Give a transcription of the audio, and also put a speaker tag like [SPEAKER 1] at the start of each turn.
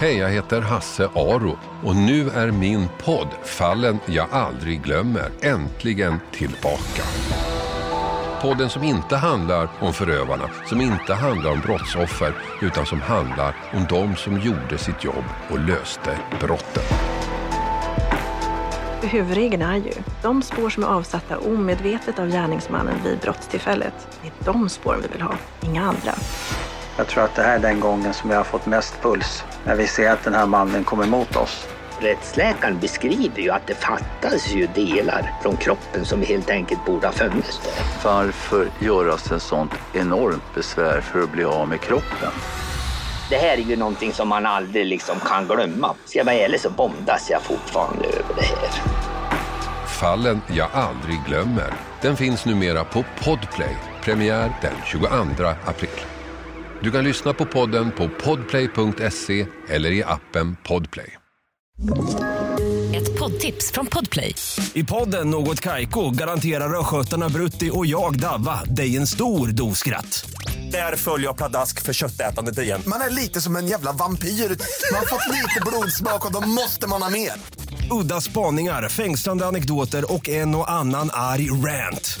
[SPEAKER 1] Hej, jag heter Hasse Aro och nu är min podd Fallen jag aldrig glömmer äntligen tillbaka. Podden som inte handlar om förövarna, som inte handlar om brottsoffer utan som handlar om de som gjorde sitt jobb och löste brotten.
[SPEAKER 2] Huvudregeln är ju de spår som är avsatta omedvetet av gärningsmannen vid brottstillfället. Det är de spåren vi vill ha, inga andra.
[SPEAKER 3] Jag tror att det här är den gången som jag har fått mest puls. När vi ser att den här mannen kommer mot oss.
[SPEAKER 4] Rättsläkaren beskriver ju att det fattas ju delar från kroppen som helt enkelt borde ha funnits där.
[SPEAKER 5] Varför göras en sånt enormt besvär för att bli av med kroppen?
[SPEAKER 4] Det här är ju någonting som man aldrig liksom kan glömma. Ska jag vara ärlig så bondas jag fortfarande över det här.
[SPEAKER 1] Fallen jag aldrig glömmer. Den finns numera på Podplay. Premiär den 22 april. Du kan lyssna på podden på podplay.se eller i appen Podplay.
[SPEAKER 6] Ett poddtips från Podplay.
[SPEAKER 7] I podden Något Kaiko garanterar östgötarna Brutti och jag, Davva, dig en stor dos skratt. Där följer jag pladask för köttätandet igen.
[SPEAKER 8] Man är lite som en jävla vampyr. Man har fått lite blodsmak och då måste man ha mer.
[SPEAKER 7] Udda spaningar, fängslande anekdoter och en och annan arg rant.